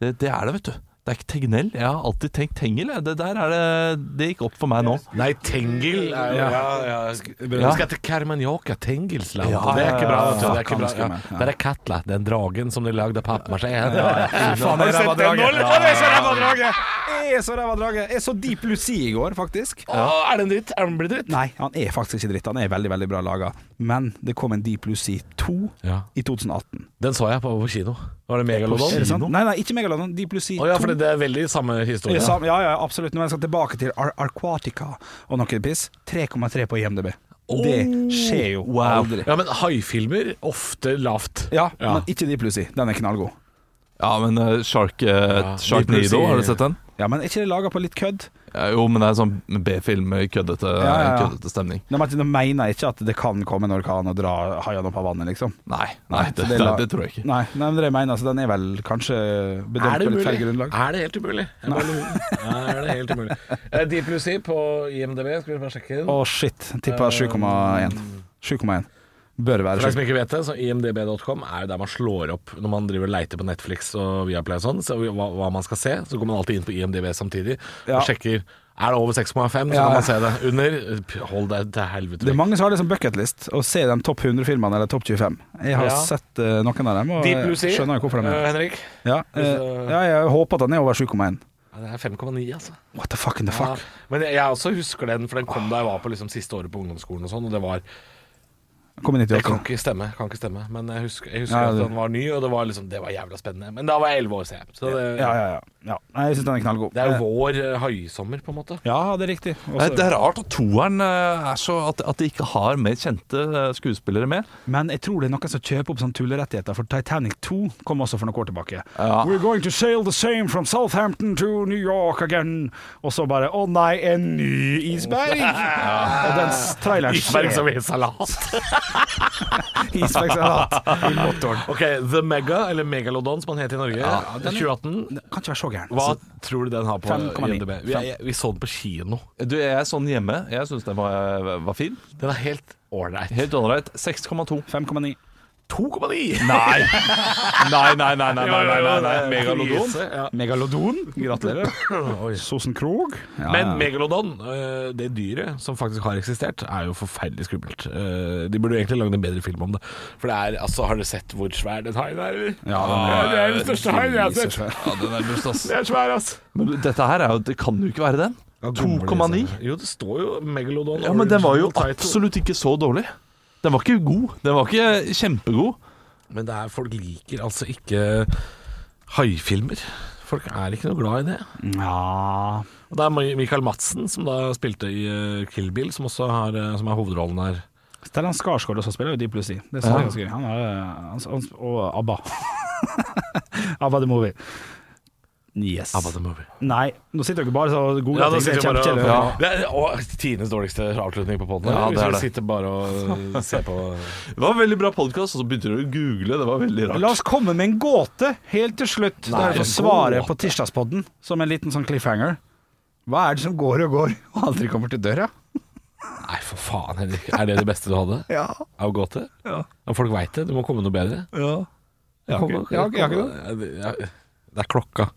Speaker 4: Det, det er det, vet du. Det er ikke Tegnell. Jeg har alltid tenkt Tengel. jeg. Det der er det Det gikk opp for meg nå.
Speaker 5: Nei, Tengel er jo ja. Ja,
Speaker 4: Ja.
Speaker 5: Vi skal til Kermanjaka, Tengelsland.
Speaker 4: Ja,
Speaker 5: det er ikke bra.
Speaker 4: ja,
Speaker 5: vet du. det er ikke
Speaker 3: faen,
Speaker 5: bra. Ja.
Speaker 3: skummer. Ja.
Speaker 5: Der er Katla, den dragen som de lagde av pappmasjé.
Speaker 3: Faen, jeg
Speaker 5: ræva
Speaker 3: sett den nå,
Speaker 5: drage.
Speaker 3: eller? Faen, jeg er så ræva drage! Jeg er så ræva drage. Jeg så Deep Lucy i går, faktisk.
Speaker 5: Å, er den dritt? Er den blitt dritt?
Speaker 3: Nei, han er faktisk ikke dritt. Han er veldig, veldig bra laga. Men det kom en Deep Lucy 2
Speaker 5: Ja.
Speaker 3: i 2018.
Speaker 5: Den så jeg på, på kino. Var det Megalodon?
Speaker 3: Er det sant? Nei, nei, ikke Megalodon. Deep Lucy
Speaker 5: Å ja,
Speaker 3: 2.
Speaker 5: for det er veldig samme
Speaker 3: Ja.
Speaker 5: historie.
Speaker 3: Sam, ja, ja, absolutt. Når jeg skal tilbake til Ar Arquatica og noe piss, 3,3 på IMDb. Det skjer jo aldri.
Speaker 5: Ja, men haifilmer ofte lavt.
Speaker 3: Ja, men ikke de pluss i. Den er knallgod.
Speaker 4: Ja, men eh, Shark, uh, Shark
Speaker 5: Deep Blue
Speaker 4: Nido,
Speaker 5: Sea.
Speaker 4: har du sett den?
Speaker 3: Ja, men er ikke det laga på litt kødd?
Speaker 4: Ja, jo, men det er sånn B-film, køddete,
Speaker 3: ja, ja.
Speaker 4: køddete stemning.
Speaker 3: Nå men- nå mener jeg ikke at det kan komme en orkan og dra haiene opp av vannet, liksom.
Speaker 4: Nei, nei,
Speaker 3: så
Speaker 4: det,
Speaker 3: det
Speaker 4: det,
Speaker 3: er la-
Speaker 4: det tror jeg ikke.
Speaker 3: Nei, nei men det jeg mener, så den er vel kanskje bedømt
Speaker 5: Er det
Speaker 3: på litt
Speaker 5: mulig?
Speaker 3: feil grunnlag.
Speaker 5: Er det helt umulig? Jeg bare lurer. Ja, er det helt umulig? Eh, Deep Lucy på IMDb, skal vi bare sjekke den?
Speaker 3: Å, shit. Tippa 7,1. 7,1. Bør være
Speaker 5: Eh, For deg som
Speaker 3: 7.
Speaker 5: ikke vet det, så imdb.com er jo der man slår opp når man driver og leiter på Netflix og Viaplay og sånn, så hva, hva man skal se. Så går man alltid inn på IMDb samtidig
Speaker 3: Ja.
Speaker 5: og sjekker. Er det over 6,5, så
Speaker 3: Ja.
Speaker 5: kan man se det. Under, p- hold deg til helvete.
Speaker 3: Det er
Speaker 5: vekk.
Speaker 3: mange som har liksom bucketlist å se de topp 100-filmene eller topp 25. Jeg har
Speaker 5: Ja.
Speaker 3: sett eh, noen av dem, og
Speaker 5: Deep
Speaker 3: jeg
Speaker 5: Lucy,
Speaker 3: skjønner jo hvorfor de er
Speaker 5: eh, Henrik.
Speaker 3: Ja, eh,
Speaker 5: Hvis, eh,
Speaker 3: ja, jeg håper at den er over 7,1.
Speaker 5: Ja, Det er 5,9, altså.
Speaker 3: What the fuck in the fuck?
Speaker 5: Ja. Men jeg, jeg også husker den, for den kom da jeg var på liksom, siste året på ungdomsskolen og sånn, og det var
Speaker 3: Kom i
Speaker 5: Det kan
Speaker 3: 98.
Speaker 5: ikke stemme, kan ikke stemme. men jeg husker, jeg husker
Speaker 3: Ja,
Speaker 5: at
Speaker 3: det-
Speaker 5: den var ny, og det var, liksom, det var jævla spennende. Men da var jeg 11 år, ser jeg. Så det,
Speaker 3: Ja, ja, ja. ja. Nei, jeg syns den er knallgod.
Speaker 5: det er jo
Speaker 3: Eh,
Speaker 5: vår eh, høysommer, på en måte.
Speaker 3: Ja, det er riktig.
Speaker 4: Nei,
Speaker 3: Også,
Speaker 4: det er rart at toeren eh, er så at, at de ikke har mer kjente eh, skuespillere med.
Speaker 3: men jeg tror det er noen som kjøper opp sånne tullerettigheter, for Titanic 2 kom også for noen år tilbake.
Speaker 4: Ja.
Speaker 3: We're going to sail the same from Southampton to New York again. Og så bare Å nei, en ny isberg! Og den s- traileren
Speaker 5: Isberg som i salat.
Speaker 3: Isbergsalat i motoren.
Speaker 5: Ok, The Mega, eller Megalodon som han het i Norge,
Speaker 3: den er-
Speaker 5: 2018.
Speaker 3: Det kan ikke være så gæren.
Speaker 5: Hva tror du den har på
Speaker 3: 5,9.
Speaker 5: IMDb? Vi, jeg, vi så den på kino.
Speaker 4: Du, jeg er sånn hjemme. Jeg syns den var, eh, var fin.
Speaker 5: Den er helt ålreit.
Speaker 4: Helt ålreit. 6,2.
Speaker 3: 5,9.
Speaker 5: 2,9!
Speaker 4: Nei. nei, nei, nei, nei, nei, nei, nei, nei. Megalodon.
Speaker 5: Krise, ja.
Speaker 3: Megalodon. Gratulerer. Sosen Krog. Ja,
Speaker 5: Men
Speaker 3: ja.
Speaker 5: megalodon, øh, det dyret som faktisk har eksistert, er jo forferdelig skummelt. Eh, De burde jo egentlig lagd en bedre film om det. For det er, altså, har dere sett hvor svær den haien er, eller?
Speaker 3: Ja, den
Speaker 5: det er den største haien jeg har sett.
Speaker 3: grisersvær.
Speaker 4: Ja, den er best, ass.
Speaker 5: Det er svær, ass.
Speaker 4: Men dette her er jo Det kan jo ikke være den. 2,9.
Speaker 5: Jo, det står jo megalodon.
Speaker 4: Ja, men den var jo
Speaker 5: original title.
Speaker 4: absolutt ikke så dårlig. Den var ikke god. Den var ikke kjempegod.
Speaker 5: Men det er, folk liker altså ikke haifilmer. Folk er ikke noe glad i det.
Speaker 3: Ja
Speaker 5: Og det er Michael Madsen som da spilte i eh, Kill Bill, som også har, eh, som er hovedrollen her.
Speaker 3: Stellan Skarsgård også spiller jo Deep Blue Sea. Det synes jeg er ganske gøy. Han er, han, han, og ABBA. ABBA the Movie. Yes.
Speaker 5: Abba the Movie.
Speaker 3: Nei, nå sitter dere bare og googler
Speaker 5: Ja,
Speaker 3: ting.
Speaker 5: da
Speaker 3: Det
Speaker 5: sitter
Speaker 3: er
Speaker 5: vi bare og
Speaker 3: kjempekjedelig.
Speaker 5: ja. Det er og, tidenes dårligste avslutning på poden.
Speaker 4: Ja, det er det.
Speaker 5: Vi sitter bare og ser på
Speaker 4: Det var en veldig bra podkast, og så begynte du å google. Det var veldig
Speaker 3: La
Speaker 4: rart.
Speaker 3: oss komme med en gåte helt til slutt.
Speaker 5: Nei,
Speaker 3: Derfor
Speaker 5: en
Speaker 3: svaret
Speaker 5: gåte.
Speaker 3: på tirsdagspodden som en liten sånn cliffhanger. Hva er det som går og går og aldri kommer til døra?
Speaker 5: Nei, for faen, Henrik. Er det det beste du hadde?
Speaker 3: Ja.
Speaker 5: Av gåte? Og folk veit det. Det må komme noe bedre.
Speaker 3: ja. Jeg har ikke- jeg har ikke- jeg har ikke
Speaker 5: Ja, det. Det er klokka.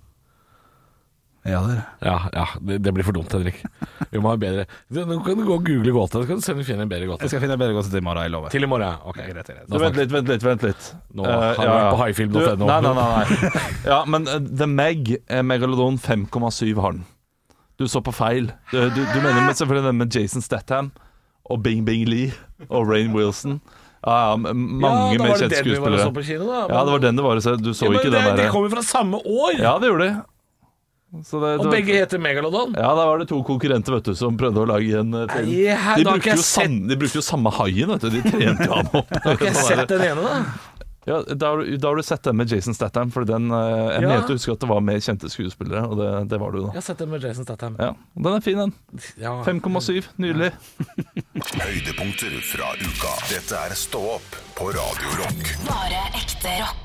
Speaker 3: Ja, det er
Speaker 5: Ja, ja det, det blir for dumt, Henrik. Vi må ha bedre Du, Nå kan du gå og google gåte, så kan du se om du finner en bedre
Speaker 3: Jeg
Speaker 5: gåte.
Speaker 3: skal finne en bedre gåte til i morgen, jeg lover.
Speaker 5: Til i morgen. Ok,
Speaker 3: Greit, greit.
Speaker 5: Da
Speaker 4: Vent
Speaker 5: snakkes.
Speaker 4: litt, vent litt. vent litt
Speaker 5: Nå
Speaker 4: Eh,
Speaker 5: har vi vært på haifilm.no.
Speaker 4: Du, Nei, nei, nei. nei. Ja, men eh, The Meg, eh, Megalodon 5,7 har den. Du så på feil. Du, du, du mener med, selvfølgelig den med Jason Statham og Bing Bing Lee og Rain Wilson. Ja, ja, m- mange
Speaker 5: ja,
Speaker 4: mer kjente
Speaker 5: Da var det den vi var og
Speaker 4: skuespillere.
Speaker 5: så på kino, da.
Speaker 4: Ja, det var den det var. Så du så
Speaker 5: Ja, men
Speaker 4: ikke
Speaker 5: det,
Speaker 4: den
Speaker 5: De
Speaker 4: derre
Speaker 5: kom jo fra samme år!
Speaker 4: Ja, det gjorde de. Så det,
Speaker 5: Og
Speaker 4: det-
Speaker 5: begge heter Megalodon.
Speaker 4: Ja, der var det to konkurrenter vet du, som prøvde å lage en eh, film.
Speaker 5: Nei, her,
Speaker 4: de,
Speaker 5: da har ikke
Speaker 4: brukte
Speaker 5: jeg
Speaker 4: jo samme, de brukte jo samme haien, vet du. De trente jo han opp.
Speaker 5: Har ikke jeg sett den ene, da?
Speaker 4: Ja, da, har du- da har du sett den med Jason Statham, for den, eh, jeg
Speaker 5: Ja.
Speaker 4: mente å huske at det var med kjente skuespillere, og det, det var det jo da.
Speaker 5: Jeg har sett den med Jason Statham.
Speaker 4: Ja, og Den er fin, den.
Speaker 5: Ja.
Speaker 4: 5,7. Nydelig.
Speaker 1: Høydepunkter fra uka. Dette er Stå opp på Radio Rock.
Speaker 2: Bare ekte rock.